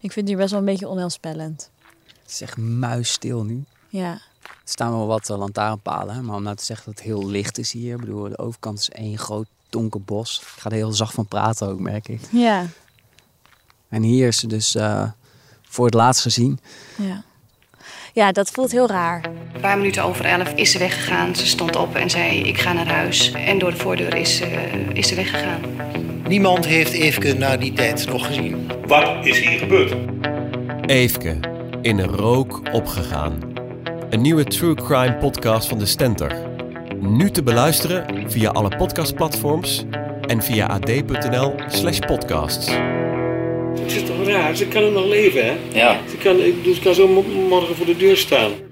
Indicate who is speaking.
Speaker 1: Ik vind die best wel een beetje onheilspellend.
Speaker 2: Het is echt muisstil nu.
Speaker 1: Ja.
Speaker 2: Er staan wel wat eh, lantaarnpalen, hè, maar om nou te zeggen dat het heel licht is hier. Ik bedoel, de overkant is één groot donker bos. Ik ga er heel zacht van praten ook, merk ik.
Speaker 1: Ja.
Speaker 2: En hier is ze dus eh, voor het laatst gezien.
Speaker 1: Ja. Ja, dat voelt heel raar.
Speaker 3: Een paar minuten over elf is ze weggegaan. Ze stond op en zei: Ik ga naar huis. En door de voordeur is, ze- eh, is ze weggegaan.
Speaker 4: Niemand heeft Eefke na die tijd nog gezien.
Speaker 5: Wat is hier gebeurd?
Speaker 6: Eefke, in een rook opgegaan. Een nieuwe true crime podcast van de Stentor. Nu te beluisteren via alle podcastplatforms en via ad.nl/slash podcasts.
Speaker 7: Het is toch raar? Ze kan hem nog leven, hè?
Speaker 8: Ja.
Speaker 7: Ze kan, ik bedoel, ze kan zo mo- morgen voor de deur staan.